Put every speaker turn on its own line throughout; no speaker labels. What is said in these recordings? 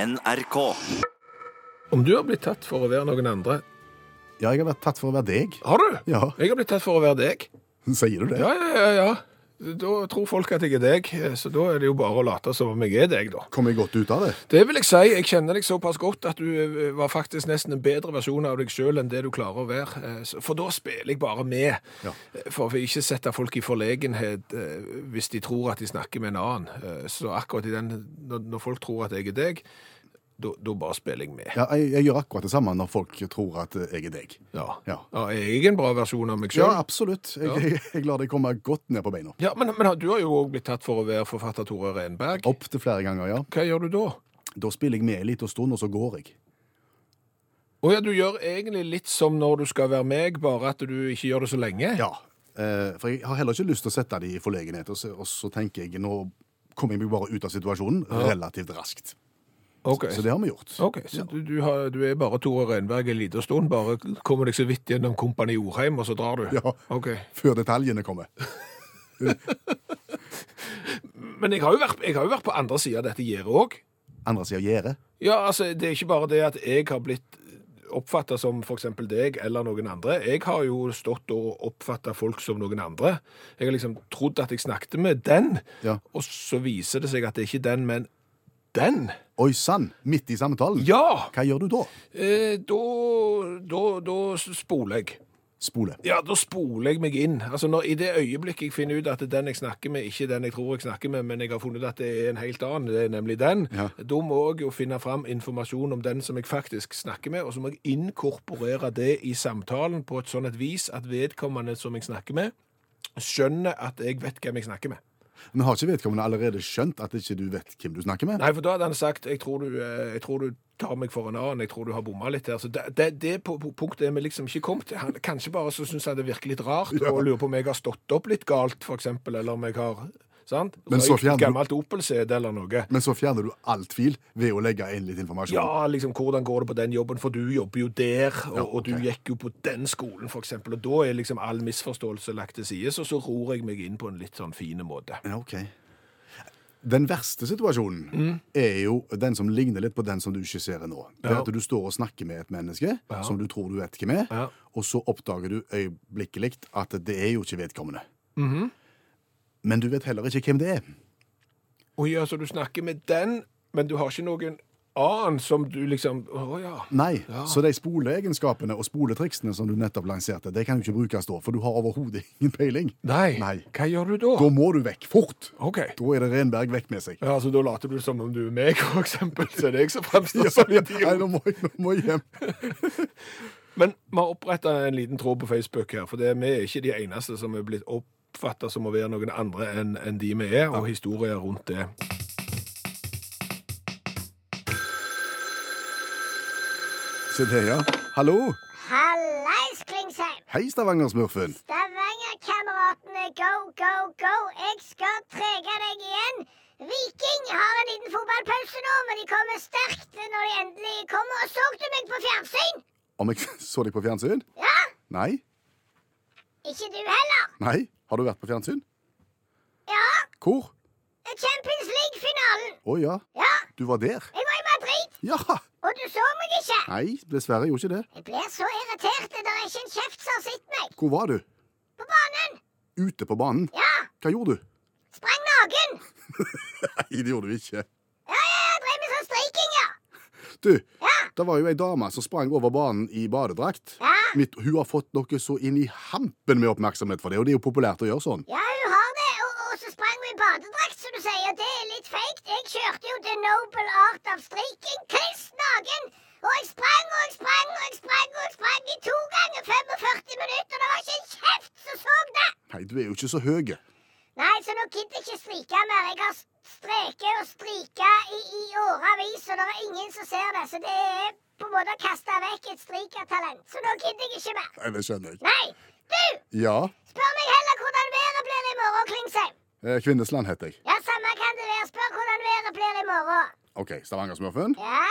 NRK.
Om du har blitt tatt for å være noen andre
Ja, jeg har vært tatt for å være deg.
Har du?
Ja.
Jeg har blitt tatt for å være deg.
Sier du det?
Ja, ja, ja. ja. Da tror folk at jeg er deg, så da er det jo bare å late som om jeg er deg, da.
Kom jeg godt ut av det?
Det vil jeg si. Jeg kjenner deg såpass godt at du eh, var faktisk nesten en bedre versjon av deg sjøl enn det du klarer å være. Eh, så- For da spiller jeg bare med,
Ja.
Eh, for å ikke sette folk i forlegenhet eh, hvis de tror at de snakker med en annen. Eh, Så akkurat i den, når- når folk tror at jeg er deg, da da bare spiller jeg med.
Ja, jeg, jeg gjør akkurat det samme når folk tror at eh, jeg er deg.
Ja.
Ja.
Ja, er jeg en bra versjon av meg
Ja,
sjøl?
absolutt. Jeg,
Ja.
jeg, jeg lar deg komme godt ned på beina.
Ja, men, men du har jo òg blitt tatt for å være forfatter Tore Renberg.
Opp til flere ganger, ja.
Hva gjør du da?
Da spiller jeg med en liten stund, og så går jeg.
Å ja, du gjør egentlig litt som når du skal være meg, bare at du ikke gjør det så lenge.
Ja, eh, for jeg har heller ikke lyst til å sette de i forlegenhet, og så, og så tenker jeg, nå kommer jeg meg bare ut av situasjonen relativt raskt.
Ok,
Så det har vi gjort.
Ok, så du, du, har, du er bare Tore Renberg en liten stund, bare kommer deg så vidt gjennom Kompani Orheim, og så drar du?
Ja.
Ok.
Før detaljene kommer.
Men jeg har jo vært, jeg har jo vært på andre siden av dette gjerdet òg.
Andre sier gjøre.
Ja, altså, det er ikke bare det at jeg har blitt oppfatta som f.eks. deg eller noen andre. Jeg har jo stått og oppfatta folk som noen andre. Jeg har liksom trodd at jeg snakket med den,
Ja.
og så viser det seg at det er ikke den, men den.
Oi, sann, midt i samtalen.
Ja!
Hva gjør du da?
Eh, da, da, da spoler jeg.
Spole.
Ja, da spoler jeg meg inn. Altså, når, I det øyeblikket jeg finner ut at det er den jeg snakker med, ikke den jeg tror jeg snakker med, men jeg har funnet ut at det er en helt annen, det er nemlig den,
Ja.
da må jeg jo finne fram informasjon om den som jeg faktisk snakker med, og så må jeg inkorporere det i samtalen på et sånn et vis at vedkommende som jeg snakker med, skjønner at jeg vet hvem jeg snakker med.
Men har ikke vedkommende allerede skjønt at ikke du vet hvem du snakker med?
Nei, for da hadde han sagt jeg tror du, eh, jeg tror du tar meg for en annen, jeg tror du har bomma litt her. Så det, det, det på, på punktet er vi liksom ikke kommet til. Han- Kanskje bare så syns han det virker litt rart og lurer på om jeg har stått opp litt galt, f.eks., eller om jeg har sant?
Men så
Røykt
fjerner du-
gammelt Opel-CD eller noe.
Men så fjerner du all tvil ved å legge inn litt informasjon.
Ja, liksom, hvordan går det på den jobben, for du jobber jo der, og,
Ja,
og du
ok.
gikk jo på den skolen, f.eks., og da er liksom all misforståelse lagt til side, så så ror jeg meg inn på en litt sånn fin måte.
Ja, ok. Den verste situasjonen er jo den som ligner litt på den som du skisserer nå. Det er
Mm. Ja.
at du står og snakker med et menneske som du tror du vet hvem er,
Ja.
og så oppdager du øyeblikkelig at det er jo ikke vedkommende.
Mhm.
Men du vet heller ikke hvem det er.
Å ja, så du snakker med den, men du har ikke noen annen som du liksom Å ja.
Nei, Så de spoleegenskapene og spoletriksene som du nettopp lanserte, det kan jo ikke brukes da, for du har overhodet ingen peiling.
Nei.
Nei.
Hva gjør du da?
Da må du vekk fort!
OK.
Da er det Renberg vekk med seg.
Ja, altså, da later du som om du er meg, for eksempel. Så det er jeg som fremstår som
Ja,
idiot.
Nei, nå må jeg, nå må jeg hjem.
Men vi har oppretta en liten tråd på Facebook her, for det er vi er ikke de eneste som er blitt oppfatta som å være noen andre enn enn de vi er, og historier rundt det.
Se det, ja. Hallo!
Hallais, Klingsheim!
Hei, Stavanger-smurfen.
Stavanger-kameratene, go, go, go! Jeg skal trege deg igjen. Viking har en liten fotballpause nå, men de kommer sterkt når de endelig kommer. Og så du meg på fjernsyn?
Om jeg så deg på fjernsyn?
Ja?
Nei.
Ikke du heller?
Nei. Har du vært på fjernsyn?
Ja?
Hvor?
Champions League-finalen.
Å ja,
Ja,
du var der.
jeg var i Madrid,
Ja!
og du så meg ikke.
Nei, dessverre gjorde ikke det.
Jeg blir så irritert. Det er ikke en kjeft som har sett meg.
Hvor var du?
På banen.
Ute på banen.
Ja.
Hva gjorde du?
Sprang naken.
Nei, det gjorde du ikke.
Ja, ja, ja. Drev med sånn striking, ja.
Du, det var jo ei dame som sprang over banen i badedrakt.
Ja.
Mitt, hun har fått noe så inn i hampen med oppmerksomhet for det, og det er jo populært å gjøre sånn.
Ja, hun har det, og, og så sprang hun i badedrakt, som du sier. og Det er litt feigt. Jeg kjørte jo The Noble Art of Striking, kliss naken. Og jeg sprang og jeg sprang og jeg sprang og jeg sprang i to ganger 45 minutter. og Det var ikke en kjeft som så det.
Nei, du er jo ikke så høy.
Nei, så nå gidder jeg ikke strike mer. Jeg har streket og strika i, i årevis, og det er ingen som ser det. Så det er på en måte å kaste vekk et strikertalent. Så nå gidder jeg ikke mer.
Nei, det skjønner jeg.
Nei, du!
Ja.
Spør meg heller hvordan været blir i morgen, Klingsheim.
eh, Kvinnesland heter jeg.
Ja, samme kan det være. Spør hvordan været blir i morgen.
OK, Stavanger-smurfen.
Ja,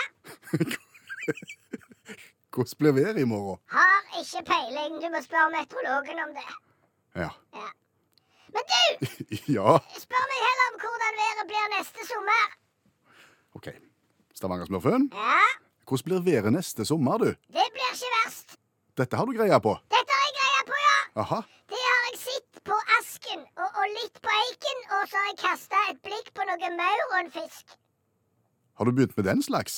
Hvordan blir været i morgen?
har ikke peiling. Du må spørre meteorologen om det.
Ja.
Men du,
Ja.
spør meg heller om hvordan været blir neste sommer.
OK. Stavanger-smørføen.
Ja,
Hvordan blir været neste sommer, du?
det blir ikke verst.
Dette har du greia på.
Dette har jeg greia på, ja.
Aha.
Det har jeg sett på asken og, og litt på eiken, og så har jeg kasta et blikk på noe maur og en fisk.
Har du begynt med den slags?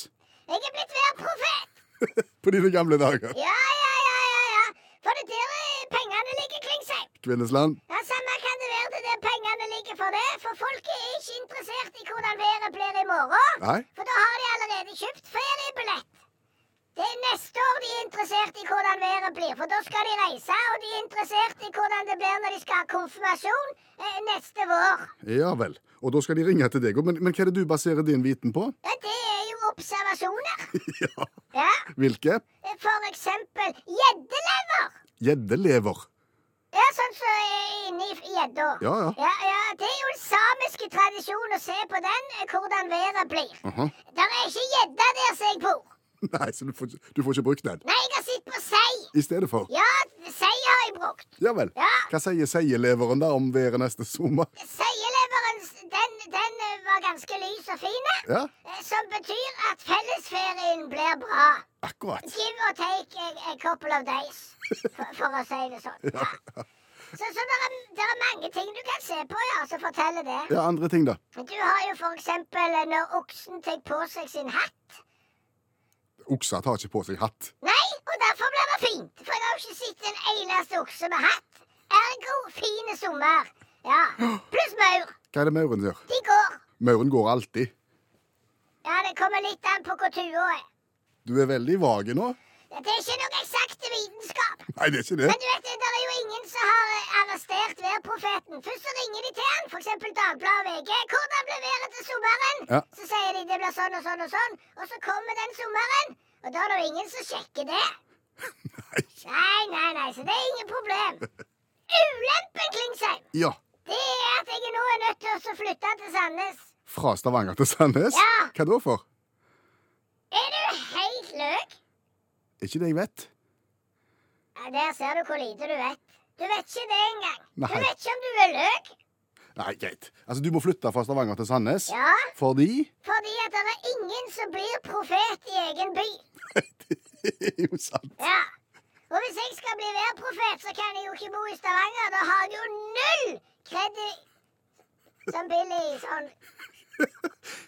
Jeg er blitt værprofet!
På dine gamle dager.
Ja, ja, ja, ja, ja. For det der eh, pengene ligger kring seg.
Kvinnesland.
Ja, Samme kan det være det der pengene ligger for det, for folk er ikke interessert i hvordan været blir i morgen.
Nei?
For da har de allerede kjøpt feriebillett. Det er neste år de er interessert i hvordan været blir, for da skal de reise, og de er interessert i hvordan det blir når de skal ha konfirmasjon eh, neste vår.
Ja vel. Og da skal de ringe til deg. Men, men hva er det du baserer din viten på?
Ja, det er jo observasjoner.
Ja.
Ja,
Hvilke?
For eksempel gjeddelever.
Gjeddelever.
Ja, sånn som er inni gjedda.
Ja, ja.
Ja, ja, det er jo en samisk tradisjon å se på den, eh, hvordan været blir.
Aha.
Der er ikke gjedda der som jeg bor.
Nei, så du får, ikke- du får ikke brukt den.
Nei, jeg har sett på sei.
I stedet for.
Ja, sei har jeg brukt.
Ja vel.
Ja.
Hva sier seieleveren da om været neste sommer?
Seieleveren, s- den, den eh, var ganske lys og fin. eh,
Ja,
eh, Som betyr at fellesferien blir bra.
akkurat.
Give or take eh, a, a couple of days, for, for å si det sånn. Ja. Så, så det, er, der er mange ting du kan se på ja, som forteller det.
Ja, andre ting, da.
Du har jo for eksempel eh, når oksen tar på seg sin hatt.
Okser tar ikke på seg hatt.
Nei, og derfor blir det fint, for jeg har jo ikke sett en eneste okse med hatt. Ergo fine sommer. Ja. Pluss maur.
Hva er det mauren gjør?
De går.
Mauren går alltid.
Ja, det kommer litt an på hvor tua er.
Du er veldig vage nå.
Det er ikke noe eksakt vitenskap.
Nei, det er ikke det.
Men du vet, det er jo ingen som har eh, arrestert værprofeten. Først så ringer de til han, f.eks. Dagbladet og VG. 'Hvordan ble været til sommeren?'
Ja.
Så sier de det blir sånn og sånn og sånn. Og så kommer den sommeren, og da er det jo ingen som sjekker det.
Nei.
Nei, nei, nei, så det er ingen problem. Ulempen, Klingsheim,
Ja.
det er at jeg nå er nødt til å flytte til Sandnes.
Fra Stavanger til Sandnes?
Ja.
Hva da for?
Er du helt løk?
Ikke det jeg vet.
Ja, Der ser du hvor lite du vet. Du vet ikke det engang. Du
Nei.
vet ikke om du er løk.
Nei, greit. Altså, du må flytte fra Stavanger til Sandnes
Ja.
fordi
Fordi at det er ingen som blir profet i egen by.
Det er jo sant.
Ja. Og hvis jeg skal bli værprofet, så kan jeg jo ikke bo i Stavanger. Da har jeg jo null kredi... Som Billy sånn.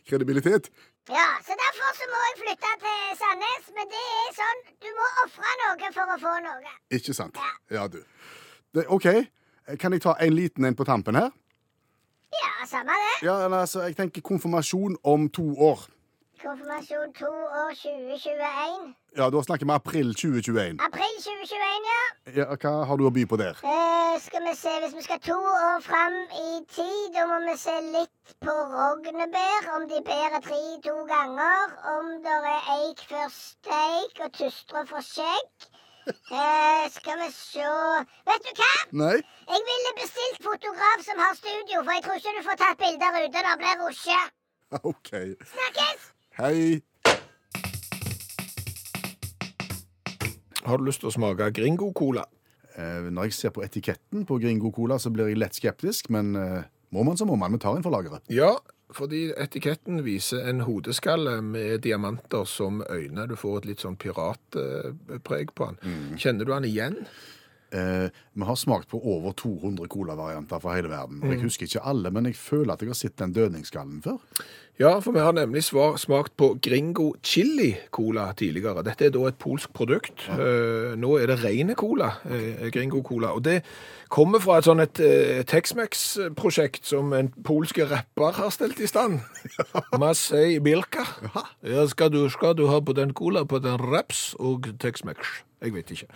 Kredibilitet.
Ja, så derfor så må jeg flytte til Sandnes. Men det er sånn, du må ofre noe for å få noe.
Ikke sant. Ja, du. Det, OK. Kan jeg ta en liten en på tampen her?
Ja, samme det.
Ja, eller, altså, Jeg tenker konfirmasjon om to år.
Konfirmasjon 2 år 2021.
Ja, Da snakker vi april 2021.
April 2021, ja.
Ja, Hva har du å by på der?
Eh, skal vi se, Hvis vi skal to år fram i tid, da må vi se litt på rognebær. Om de bærer tre-to ganger. Om det er eik før steik og tystre for skjegg. Eh, skal vi sjå Vet du hva?
Nei?
Jeg ville bestilt fotograf som har studio, for jeg tror ikke du får tatt bilder ute. Da blir rusje.
OK.
Snakkes!
Hei.
Har du lyst til å smake Gringo-cola?
Eh, når jeg ser på etiketten på Gringo Cola, så blir jeg lett skeptisk, men eh, må man, så må man. Vi tar en for lageret.
Ja, fordi etiketten viser en hodeskalle med diamanter som øyne. Du får et litt sånn piratpreg på den. Kjenner du den igjen?
Eh, vi har smakt på over 200 colavarianter fra hele verden. Og jeg husker ikke alle, men jeg føler at jeg har sett den dødningsskallen før.
Ja, for vi har nemlig svar, smakt på Gringo Chili Cola tidligere. Dette er da et polsk produkt. Eh, nå er det rene cola, eh, Gringo Cola. Og det kommer fra et sånn et eh, Tex-Mex-prosjekt som en polske rapper har stelt i stand. Masei Bilka. Ja, skal du, skal du ha på den cola, på den raps og Tex-Mex? Jeg vet ikke.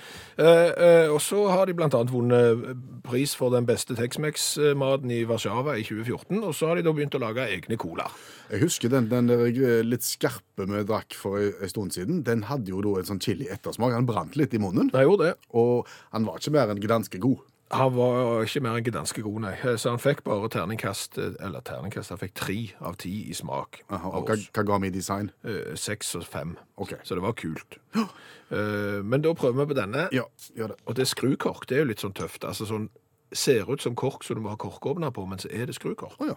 Eh, eh, og så har de blant annet vunnet pris for den beste Tex-Mex-maten i Warszawa i 2014, og så har de da begynt å lage egne cola.
Jeg husker den, den der eh, litt skarpe vi drakk for en en stund siden. Den hadde jo da en sånn chili ettersmak. Han brant litt i munnen,
Jeg gjorde det.
og han var ikke mer enn ganske god.
Han var ikke mer enn gdanske god, nei. Så han fikk bare terningkast, eh, eller terningkast, han fikk tre av ti i smak
Aha,
av
og hva,
oss.
hva ga vi i design?
Eh, Seks og fem.
Ok.
Så det var kult. Eh, Men da prøver vi på denne.
Ja, gjør det.
Og det er skrukork, det er jo litt sånn tøft. Altså sånn, ser ut som kork som du må ha korkåpner på, men så er det skrukork.
Å ja.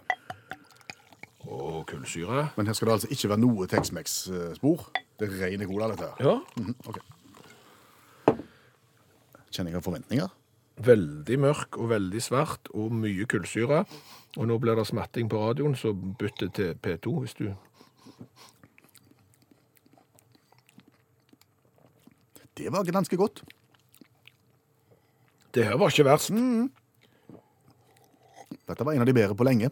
og kullsyre.
Men her skal det altså ikke være noe Tex-Mex-spor. Det er rene cola, dette her.
Ja,
Mhm, ok. Kjenner jeg forventninger?
Veldig mørk og veldig svart og mye kullsyre. Og nå blir det smatting på radioen, så bytt det til P2 hvis du
Det var ganske godt.
Det her var ikke verst.
Dette var en av de bedre på lenge.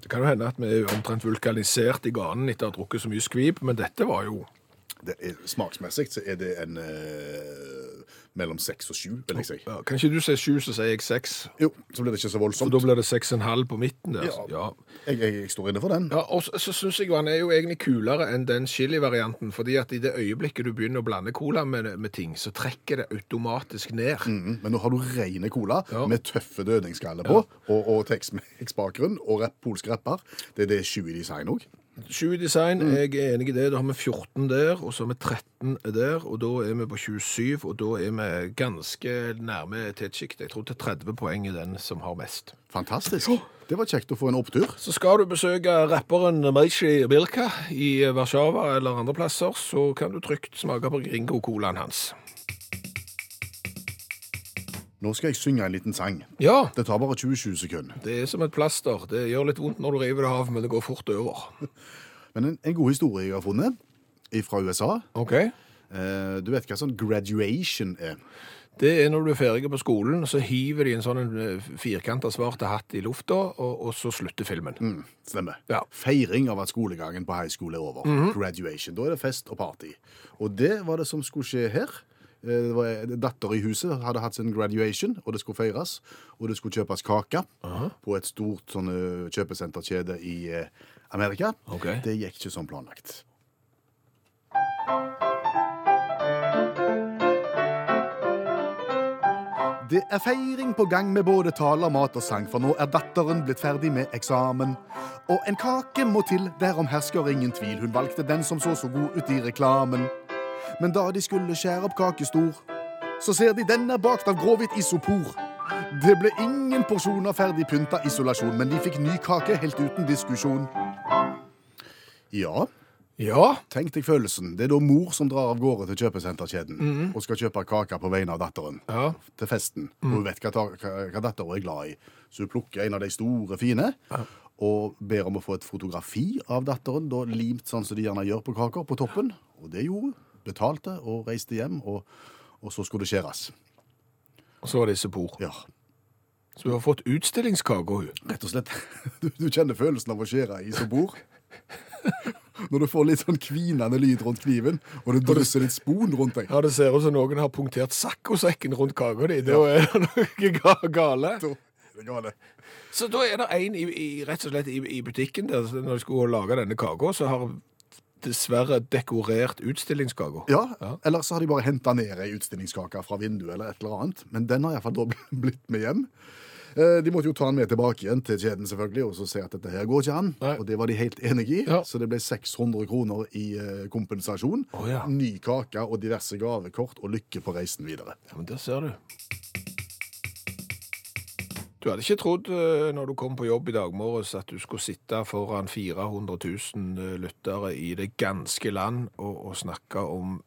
Det kan jo hende at vi er omtrent vulkanisert i ganen etter å ha drukket så mye skvip, men dette var jo
Det er, smaksmessig så er det en eh, mellom seks og sju, vil jeg si.
ja, Kan ikke du si sju, så sier jeg seks?
Jo, så blir det ikke så
Og
voldsomt.
da blir det seks og en halv på midten der.
Ja.
Ja.
Jeg, jeg, jeg står inne for den.
Ja, og så, så syns jeg jo han er jo egentlig kulere enn den chili-varianten. fordi at i det øyeblikket du begynner å blande cola med, med ting, så trekker det automatisk ned.
Mhm, men nå har du rene cola
Ja.
med tøffe dødningsskaller på, og, og Tex-Mex-bakgrunn og rapp, polsk rapper. Det er det 20 i design òg.
Sju i design, jeg er enig i det. Da har vi 14 der, og så har vi 13 der. Og da er vi på 27, og da er vi ganske nærme tettsjikt. Jeg tror til 30 poeng er den som har mest.
Fantastisk. Det var kjekt å få en opptur.
Så skal du besøke rapperen Maji Bilka i Warszawa eller andre plasser, så kan du trygt smake på Gringo-colaen hans.
Nå skal jeg synge en liten sang.
Ja,
Det tar bare 27 sekunder.
det er som et plaster. Det gjør litt vondt når du river det av, men det går fort over.
Men en, en god historie jeg har funnet, fra USA.
Ok?
Eh, du vet hva sånn graduation er?
Det er når du er ferdig på skolen, så hiver de en sånn firkanta svart hatt i lufta, og, og så slutter filmen.
Mm, stemmer.
Ja.
Feiring av at skolegangen på high school er over. Graduation. Da er det fest og party. Og det var det som skulle skje her. Eh, Det var en datter i huset hadde hatt sin graduation, og det skulle feires. Og det skulle kjøpes kake på et stort sånn, eh, kjøpesenterkjede i eh, Amerika.
Ok.
Det gikk ikke som planlagt. Det er feiring på gang med både taler, mat og sang, for nå er datteren blitt ferdig med eksamen. Og en kake må til, derom hersker ingen tvil, hun valgte den som så så god ut i reklamen. Men da de skulle skjære opp kakestor, så ser de den er bakt av gråhvitt isopor. Det ble ingen porsjoner ferdig pynta isolasjon, men de fikk ny kake helt uten diskusjon. Ja,
Ja,
tenk deg følelsen. Det er da mor som drar av gårde til kjøpesenterkjeden og skal kjøpe kake på vegne av datteren
ja.
til festen. Og hun vet hva, ta- hva, hva datteren er glad i. Så hun plukker en av de store, fine, og ber om å få et fotografi av datteren, da limt sånn som de gjerne gjør på kaker, på toppen. Og det gjorde hun. Betalte og reiste hjem, og, og så skulle det skjæres.
Og så var det isopor.
Ja,
Så hun har fått utstillingskake, hun.
rett og slett. Du, du kjenner følelsen av å skjære i som bord. Når du får litt sånn kvinende lyd rundt kniven, og det drysser litt spon rundt deg.
Ja, det ser ut som noen har punktert saccosekken rundt kaka di. Da er det noe ga- gale.
Da er det gale.
Så da er det en i, i, rett og slett i, i butikken der, så når de skulle lage denne kaka, så har dessverre dekorert utstillingskaka.
Ja, eller så har de bare henta ned ei utstillingskake fra vinduet eller et eller annet. Men den har iallfall da blitt med hjem. Eh, De måtte jo ta den med tilbake igjen til kjeden selvfølgelig, og så se at dette her går ikke an.
Nei.
Og det var de helt enig i,
Ja.
så det ble 600 kroner i eh, kompensasjon.
Å, ja.
Ny kake og diverse gavekort, og lykke på reisen videre.
Ja, men der ser du. Du hadde ikke trodd eh, når du kom på jobb i dag morges at du skulle sitte foran 400 000 eh, lyttere i det ganske land og, og snakke om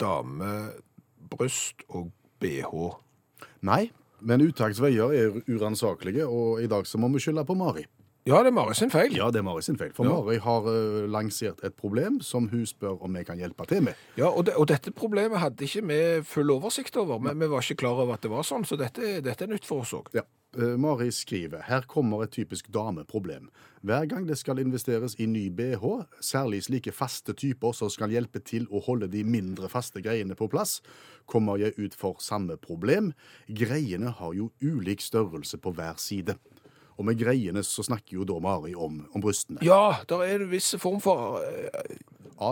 damebryst og BH.
Nei, men utakts veier er uransakelige, og i dag så må vi skylde på Mari.
Ja, det er Mari sin feil.
Ja, det er Mari sin feil, for
Ja.
Mari har eh, lansert et problem som hun spør om vi kan hjelpe til med.
Ja, og, det, og dette problemet hadde ikke vi full oversikt over. Men vi var ikke klar over at det var sånn, så dette, dette er nytt for oss òg.
Ja. Eh, Mari skriver her kommer et typisk dameproblem. Hver gang det skal investeres i ny BH, særlig slike faste typer som skal hjelpe til å holde de mindre faste greiene på plass, kommer jeg ut for samme problem. Greiene har jo ulik størrelse på hver side. Og med greiene så snakker jo da Mari om, om brystene.
Ja, der er en viss form for eh,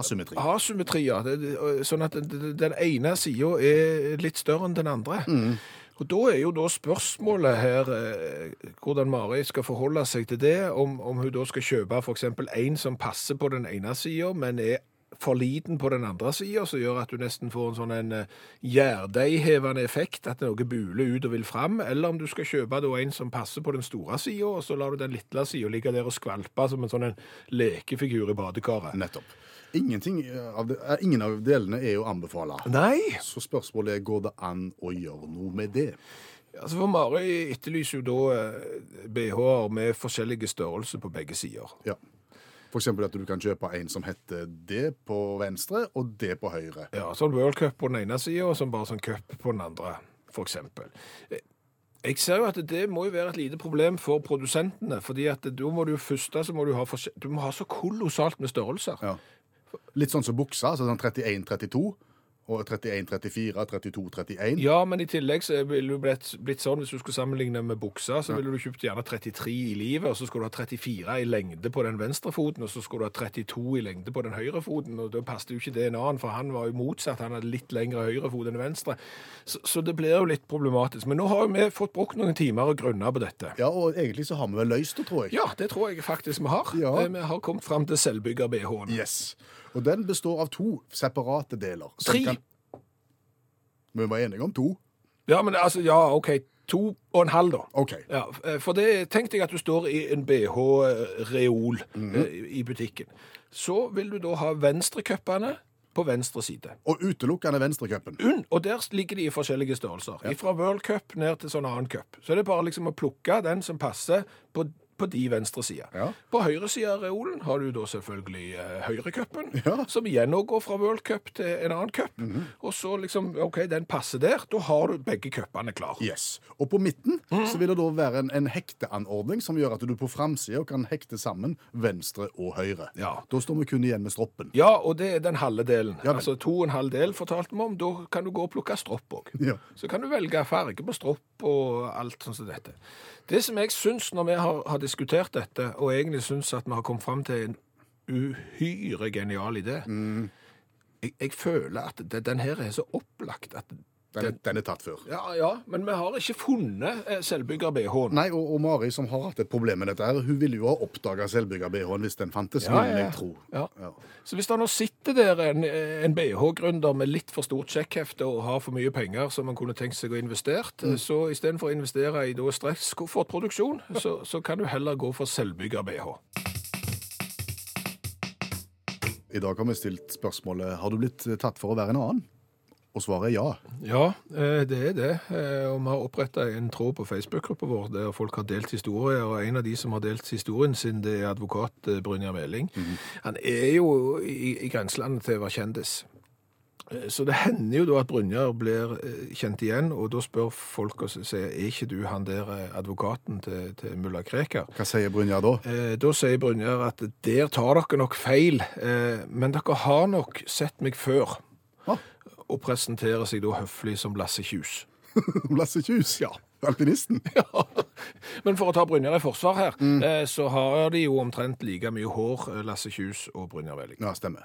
Asymmetri.
asymmetrier. Det- det- eh, Sånn at den- den ene sida er litt større enn den andre.
Mm,
Og da er jo da spørsmålet her eh, hvordan Mari skal forholde seg til det. Om, om hun da skal kjøpe f.eks. en som passer på den ene sida, men er for liten på den andre sida, som gjør at du nesten får en sånn en eh, gjærdeighevende effekt, at noe buler ut og vil fram, eller om du skal kjøpe da en som passer på den store sida, og så lar du den lille sida ligge der og skvalpe som en sånn en lekefigur i badekaret.
Nettopp. Ingenting av det, eh, ingen av delene er å anbefale.
Nei!
Så spørsmålet er går det an å gjøre noe med det.
Altså for Mari etterlyser jo da eh, BH-er med forskjellige størrelser på begge sider.
Ja. For eksempel at du kan kjøpe en som heter det på venstre og det på høyre.
Ja, sånn World Cup på den ene sida, og sånn bare sånn cup på den andre, for eksempel. Eh, Jeg ser jo at det må jo være et lite problem for produsentene, fordi at da må du først så må du ha, forskjell- du må ha så kolossalt med størrelser.
Ja. Litt sånn som buksa, altså sånn 31-32 og 31-34, 32-31.
Ja, men i tillegg så ville du blitt, blitt sånn, hvis du skulle sammenligne med buksa, så ville du kjøpt gjerne 33 i livet, og så skulle du ha 34 i lengde på den venstre foten, og så skulle du ha 32 i lengde på den høyre foten, og da passet jo ikke det en annen, for han var jo motsatt, han hadde litt lengre høyre fot enn venstre. Så, så det blir jo litt problematisk. Men nå har jo vi fått brukt noen timer og grunner på dette.
Ja, og egentlig så har vi vel løst det, tror jeg.
Ja, det tror jeg faktisk vi har.
Ja.
Eh, Vi har kommet fram til selvbygger-BH-en.
Yes. Og den består av to separate deler. som
Tre.
Vi var enige om to.
Ja, men altså, ja, ok, to og en halv da.
OK.
Ja, eh, for det tenkte jeg at du står i en BH-reol eh,
Mhm.
i butikken. Så vil du da ha venstrekøppene på venstre side.
Og utelukkende venstrecupen.
Unn, og der ligger de i forskjellige størrelser. Fra World Cup ned til sånn annen cup. Så det er bare liksom å plukke den som passer på, på de venstre sida.
Ja.
På høyre side av reolen har du da selvfølgelig eh, høyrecupen,
Ja. Mhm.
som igjen nå går fra World Cup til en annen cup. Og så liksom, OK, den passer der. Da har du begge cupene klar.
Yes. Og på midten så vil det da være en, en hekteanordning som gjør at du på framsida kan hekte sammen venstre og høyre.
Ja.
Da står vi kun igjen med stroppen.
Ja, og det er den halve delen.
Ja, men-
altså to og en halv del fortalte vi om. Da kan du gå og plukke stropp òg.
Ja.
Så kan du velge farge på stropp og alt sånn som dette. Det som jeg syns når vi har, har diskutert dette, og egentlig syns at vi har kommet fram til en uhyre genial idé
Mm.
jeg, jeg føler at det, den her er så opplagt at
Den, er- den er tatt før.
Ja, ja, men vi har ikke funnet eh, selvbygger-BH-en.
Nei, og, og Mari, som har hatt et problem med dette, her, hun ville jo ha oppdaga selvbygger-BH-en hvis den fantes.
Ja,
vil
ja, ja.
jeg tro.
Ja.
Ja.
Så hvis det nå sitter der en, en BH-gründer med litt for stort sjekkhefte og har for mye penger som han kunne tenkt seg å investert, så istedenfor å investere i da stresskoffertproduksjon, så, så kan du heller gå for selvbygger-BH.
I dag har vi stilt spørsmålet har du blitt tatt for å være en annen. Og svaret er ja.
Ja, eh, det er det. Eh, Og vi har oppretta en tråd på Facebook-gruppa vår der folk har delt historier, og en av de som har delt historien sin, det er advokat eh, Brynjar Meling. Han er jo i, i grenselandet til å være kjendis. Eh, Så det hender jo da at Brynjar blir eh, kjent igjen, og da spør folk og s- sier er ikke du han der eh, advokaten til, til mulla Krekar?
Hva sier Brynjar da?
Eh, Da sier Brynjar at der tar dere nok feil, eh, men dere har nok sett meg før.
Ah.
Og presenterer seg da høflig som Lasse Kjus.
Lasse Kjus?
Ja.
Alpinisten?
Men for å ta Brynjar i forsvar her, eh, så har de jo omtrent like mye hår, eh, Lasse Kjus og Brynjar Velling.
Ja, stemmer.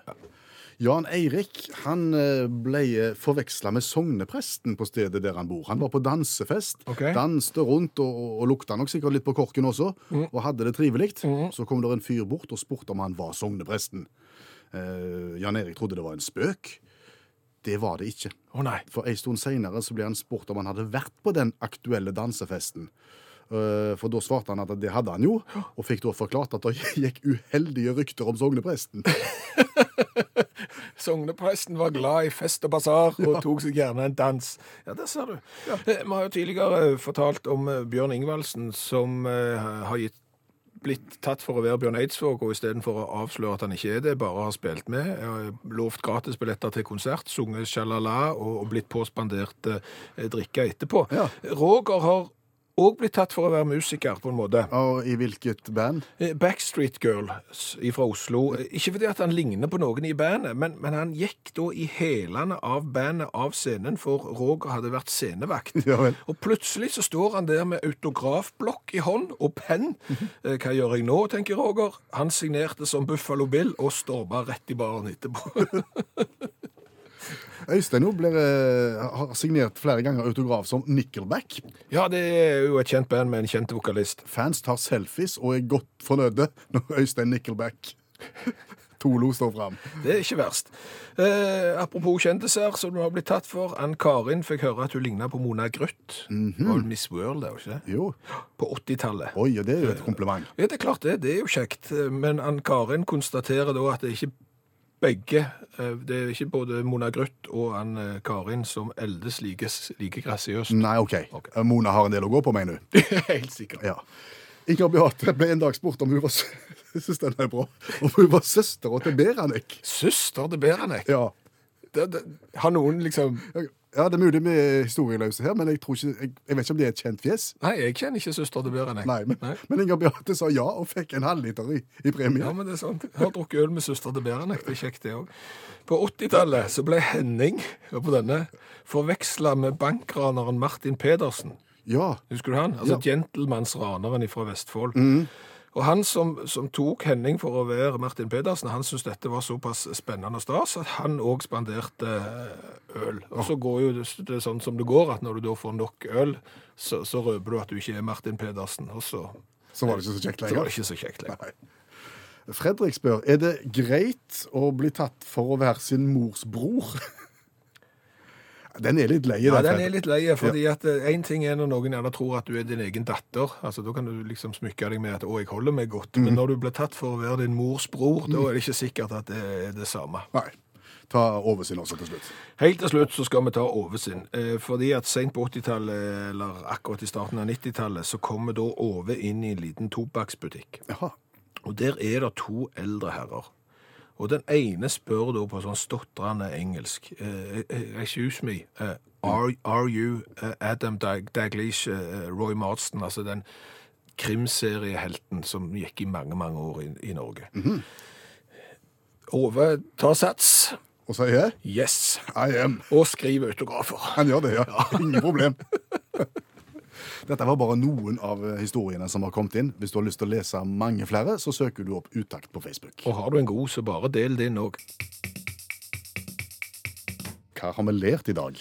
Jan Eirik han eh, ble forveksla med sognepresten på stedet der han bor. Han var på dansefest,
Ok.
danste rundt og, og, og lukta nok sikkert litt på korken også, og hadde det trivelig. Så kom det en fyr bort og spurte om han var sognepresten. Eh, Jan Eirik trodde det var en spøk. Det var det ikke.
Å nei.
For ei stund seinere ble han spurt om han hadde vært på den aktuelle dansefesten. Eh, For da svarte han at det hadde han jo, og fikk da forklart at det gikk uheldige rykter om sognepresten.
Sognepresten var glad i fest og basar og tok seg gjerne en dans. Ja, der ser du. Eh, Vi har jo tidligere eh, fortalt om eh, Bjørn Ingvaldsen, som eh, har gitt blitt tatt for å være Bjørn Eidsvåg, og istedenfor å avsløre at han ikke er det, bare har spilt med, eh, lovt gratis billetter til konsert, sunget sjalala og og blitt påspandert eh, drikke etterpå.
Ja.
Roger har òg blitt tatt for å være musiker, på en måte.
Og i hvilket band?
Eh, Backstreet Girls fra Oslo. Eh, Ikke fordi at han ligner på noen i bandet, men, men han gikk da i hælene av bandet av scenen, for Roger hadde vært scenevakt.
Ja vel.
Og plutselig så står han der med autografblokk i hånd og penn. Eh, Hva gjør jeg nå, tenker Roger. Han signerte som Buffalo Bill og storma rett i baren etterpå.
Øystein jo blir, eh, har signert flere ganger autograf som Nickelback.
ja, det er jo et kjent band med en kjent vokalist.
Fans tar selfies og er godt fornøyde når Øystein Nickelback Tolo står fram.
Det er ikke verst. Eh, apropos kjendiser som du har blitt tatt for. Ann Karin fikk høre at hun ligna på Mona Grøtt.
Mhm.
Var vel Miss World, det, var ikke det?
Jo.
På 80-tallet.
Oi, og det er jo et kompliment.
Ja, det er klart det. Det er jo kjekt. Men Ann Karin konstaterer da at det er ikke begge eh, Det er ikke både Mona Grøtt og Ann eh, Karin som eldes like, like grasiøst.
Nei, OK. Eh,
Ok.
Mona har en del å gå på, mener du?
Helt sikkert.
Ja. Inger Beate ble en dag spurt om hun var sø- Jeg synes den er bra. Om hun var søstera til Beranek.
Søster til Beranek.
Ja.
Det- det- Har noen liksom
ja, det er mulig vi er historieløse her, men jeg, tror ikke, jeg, jeg vet ikke om det er et kjent fjes.
Nei, jeg kjenner ikke søster til Beranek.
Nei, men, men Inger Beate sa ja og fikk en halvliter i, i
Ja,
premie.
men det er sant. Jeg har drukket øl med søster til Beranek. Det er kjekt, det òg. På 80-tallet så ble Henning hør på denne, forveksla med bankraneren Martin Pedersen.
Ja.
Husker du han? Altså gentlemansraneren fra Vestfold. Og han som, som tok Henning for å være Martin Pedersen, han syntes dette var såpass spennende og stas at han òg spanderte eh, øl. Og så går jo det, det er sånn som det går, at når du da får nok øl, så, så røper du at du ikke er Martin Pedersen. Og så,
Så var det ikke så kjekt
så var det
lenger.
ikke så kjekt lenger.
Fredrik spør er det greit å bli tatt for å være sin mors bror. Den er litt lei,
Ja,
den.
den er
Fredrik.
litt lei, fordi at én ting er når noen gjerne tror at du er din egen datter. altså Da kan du liksom smykke deg med at 'å, jeg holder meg godt', men når du blir tatt for å være din mors bror, da er det ikke sikkert at det er det samme.
Nei. Ta oversinn også til slutt.
Helt til slutt så skal vi ta Ove sin. Eh, fordi at sent på 80-tallet, eller akkurat i starten av 90-tallet, så kommer da Ove inn i en liten tobakksbutikk.
Jaha.
Og der er det to eldre herrer. Og den ene spør da på sånn stotrende engelsk eh, eh, Excuse me, eh, are, are you eh, Adam Dag Daglish, eh, Roy Marston? Altså den krimseriehelten som gikk i mange, mange år i, i Norge. Ove tar sats.
Og så er jeg
Yes.
I am.
Og skriver autografer.
Han gjør det, ja. Ingen problem. Dette var bare noen av historiene som har kommet inn. Hvis du har lyst til å lese mange flere, så søker du opp Utakt på Facebook.
Og har du en god, så bare del din òg.
Hva har vi lært i dag?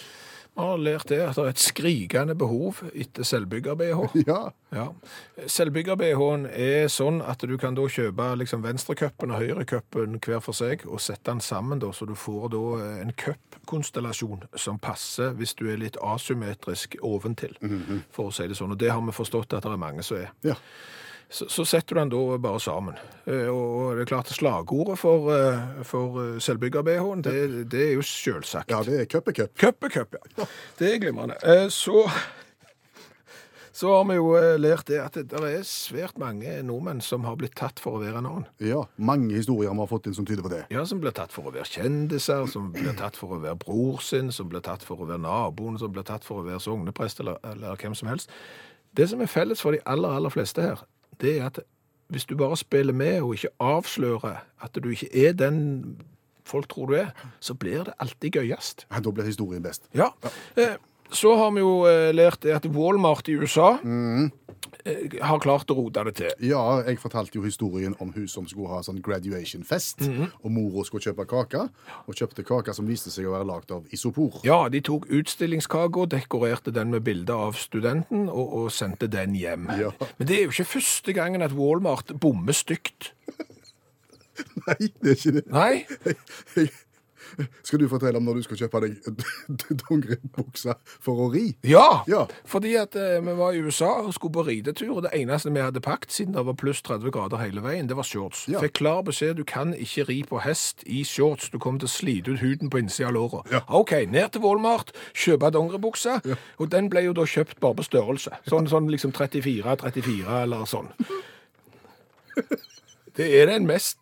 Vi har lært det at det er et skrikende behov etter selvbygger-BH.
Ja,
Ja. Selvbygger-BH-en er sånn at du kan da kjøpe liksom venstrecupen og høyrecupen hver for seg, og sette den sammen, da, så du får da eh, en cupkonstellasjon som passer hvis du er litt asymmetrisk oventil, for å si det sånn. Og det har vi forstått at det er mange som er.
ja.
så, så setter du den da bare sammen. Eh, Og og det er klart, slagordet for, eh, for eh, selvbygger-BH-en, det, det er jo selvsagt.
ja det er cup er cup.
Cup er cup, ja. Det er glimrende. Eh, Så, så har vi jo eh, lært det at det der er svært mange nordmenn som har blitt tatt for å være en annen.
Ja, mange historier vi har fått inn som tyder på det.
Ja, Som blir tatt for å være kjendiser, som blir tatt for å være bror sin, som blir tatt for å være naboen, som blir tatt for å være sogneprest eller, eller hvem som helst. Det som er felles for de aller, aller fleste her, det er at hvis du bare spiller med og ikke avslører at du ikke er den folk tror du er, så blir det alltid gøyest.
Ja, da blir historien best.
Ja. Eh, Så har vi jo eh, lært det at Walmart i USA
Mm.
eh, har klart å rote det til.
Ja, jeg fortalte jo historien om hun som skulle ha sånn graduation-fest, og mora skulle kjøpe kake, og kjøpte kake som viste seg å være lagd av isopor.
Ja, de tok utstillingskaka, dekorerte den med bilde av studenten og, og sendte den hjem.
Ja.
Men det er jo ikke første gangen at Walmart bommer stygt.
Nei, det er ikke det.
Nei?
Skal du fortelle om når du skal kjøpe deg dongeribukse for å ri?
Ja!
Ja.
Fordi at eh, vi var i USA og skulle på ridetur, og det eneste vi hadde pakket, siden det var pluss 30 grader hele veien, det var shorts.
Ja.
Fikk klar beskjed du kan ikke ri på hest i shorts, du kommer til å slite ut huden på innsida av låra.
Ja.
OK, ned til Walmart, kjøpe dongeribukse, og den ble jo da kjøpt bare på størrelse. Sånn, sånn liksom 34, 34 eller sånn. Det er den mest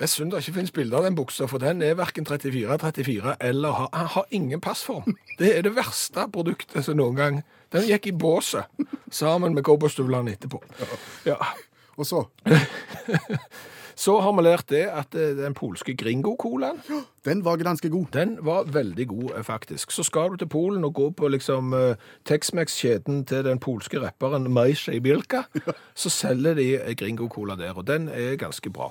jeg synd det ikke finnes bilder av den buksa, for den er verken 34, 34 eller har, han har ingen passform. Det er det verste produktet som noen gang Den gikk i båset sammen med cowboystøvlene etterpå. Ja.
Og så,
Så har vi lært det at eh, den polske Gringo-colaen
den var ganske god.
den var veldig god, eh, faktisk. Så skal du til Polen og gå på liksom eh, Tex-Mex-kjeden til den polske rapperen Majsej Bilka, så selger de eh, Gringo-cola der, og den er ganske bra.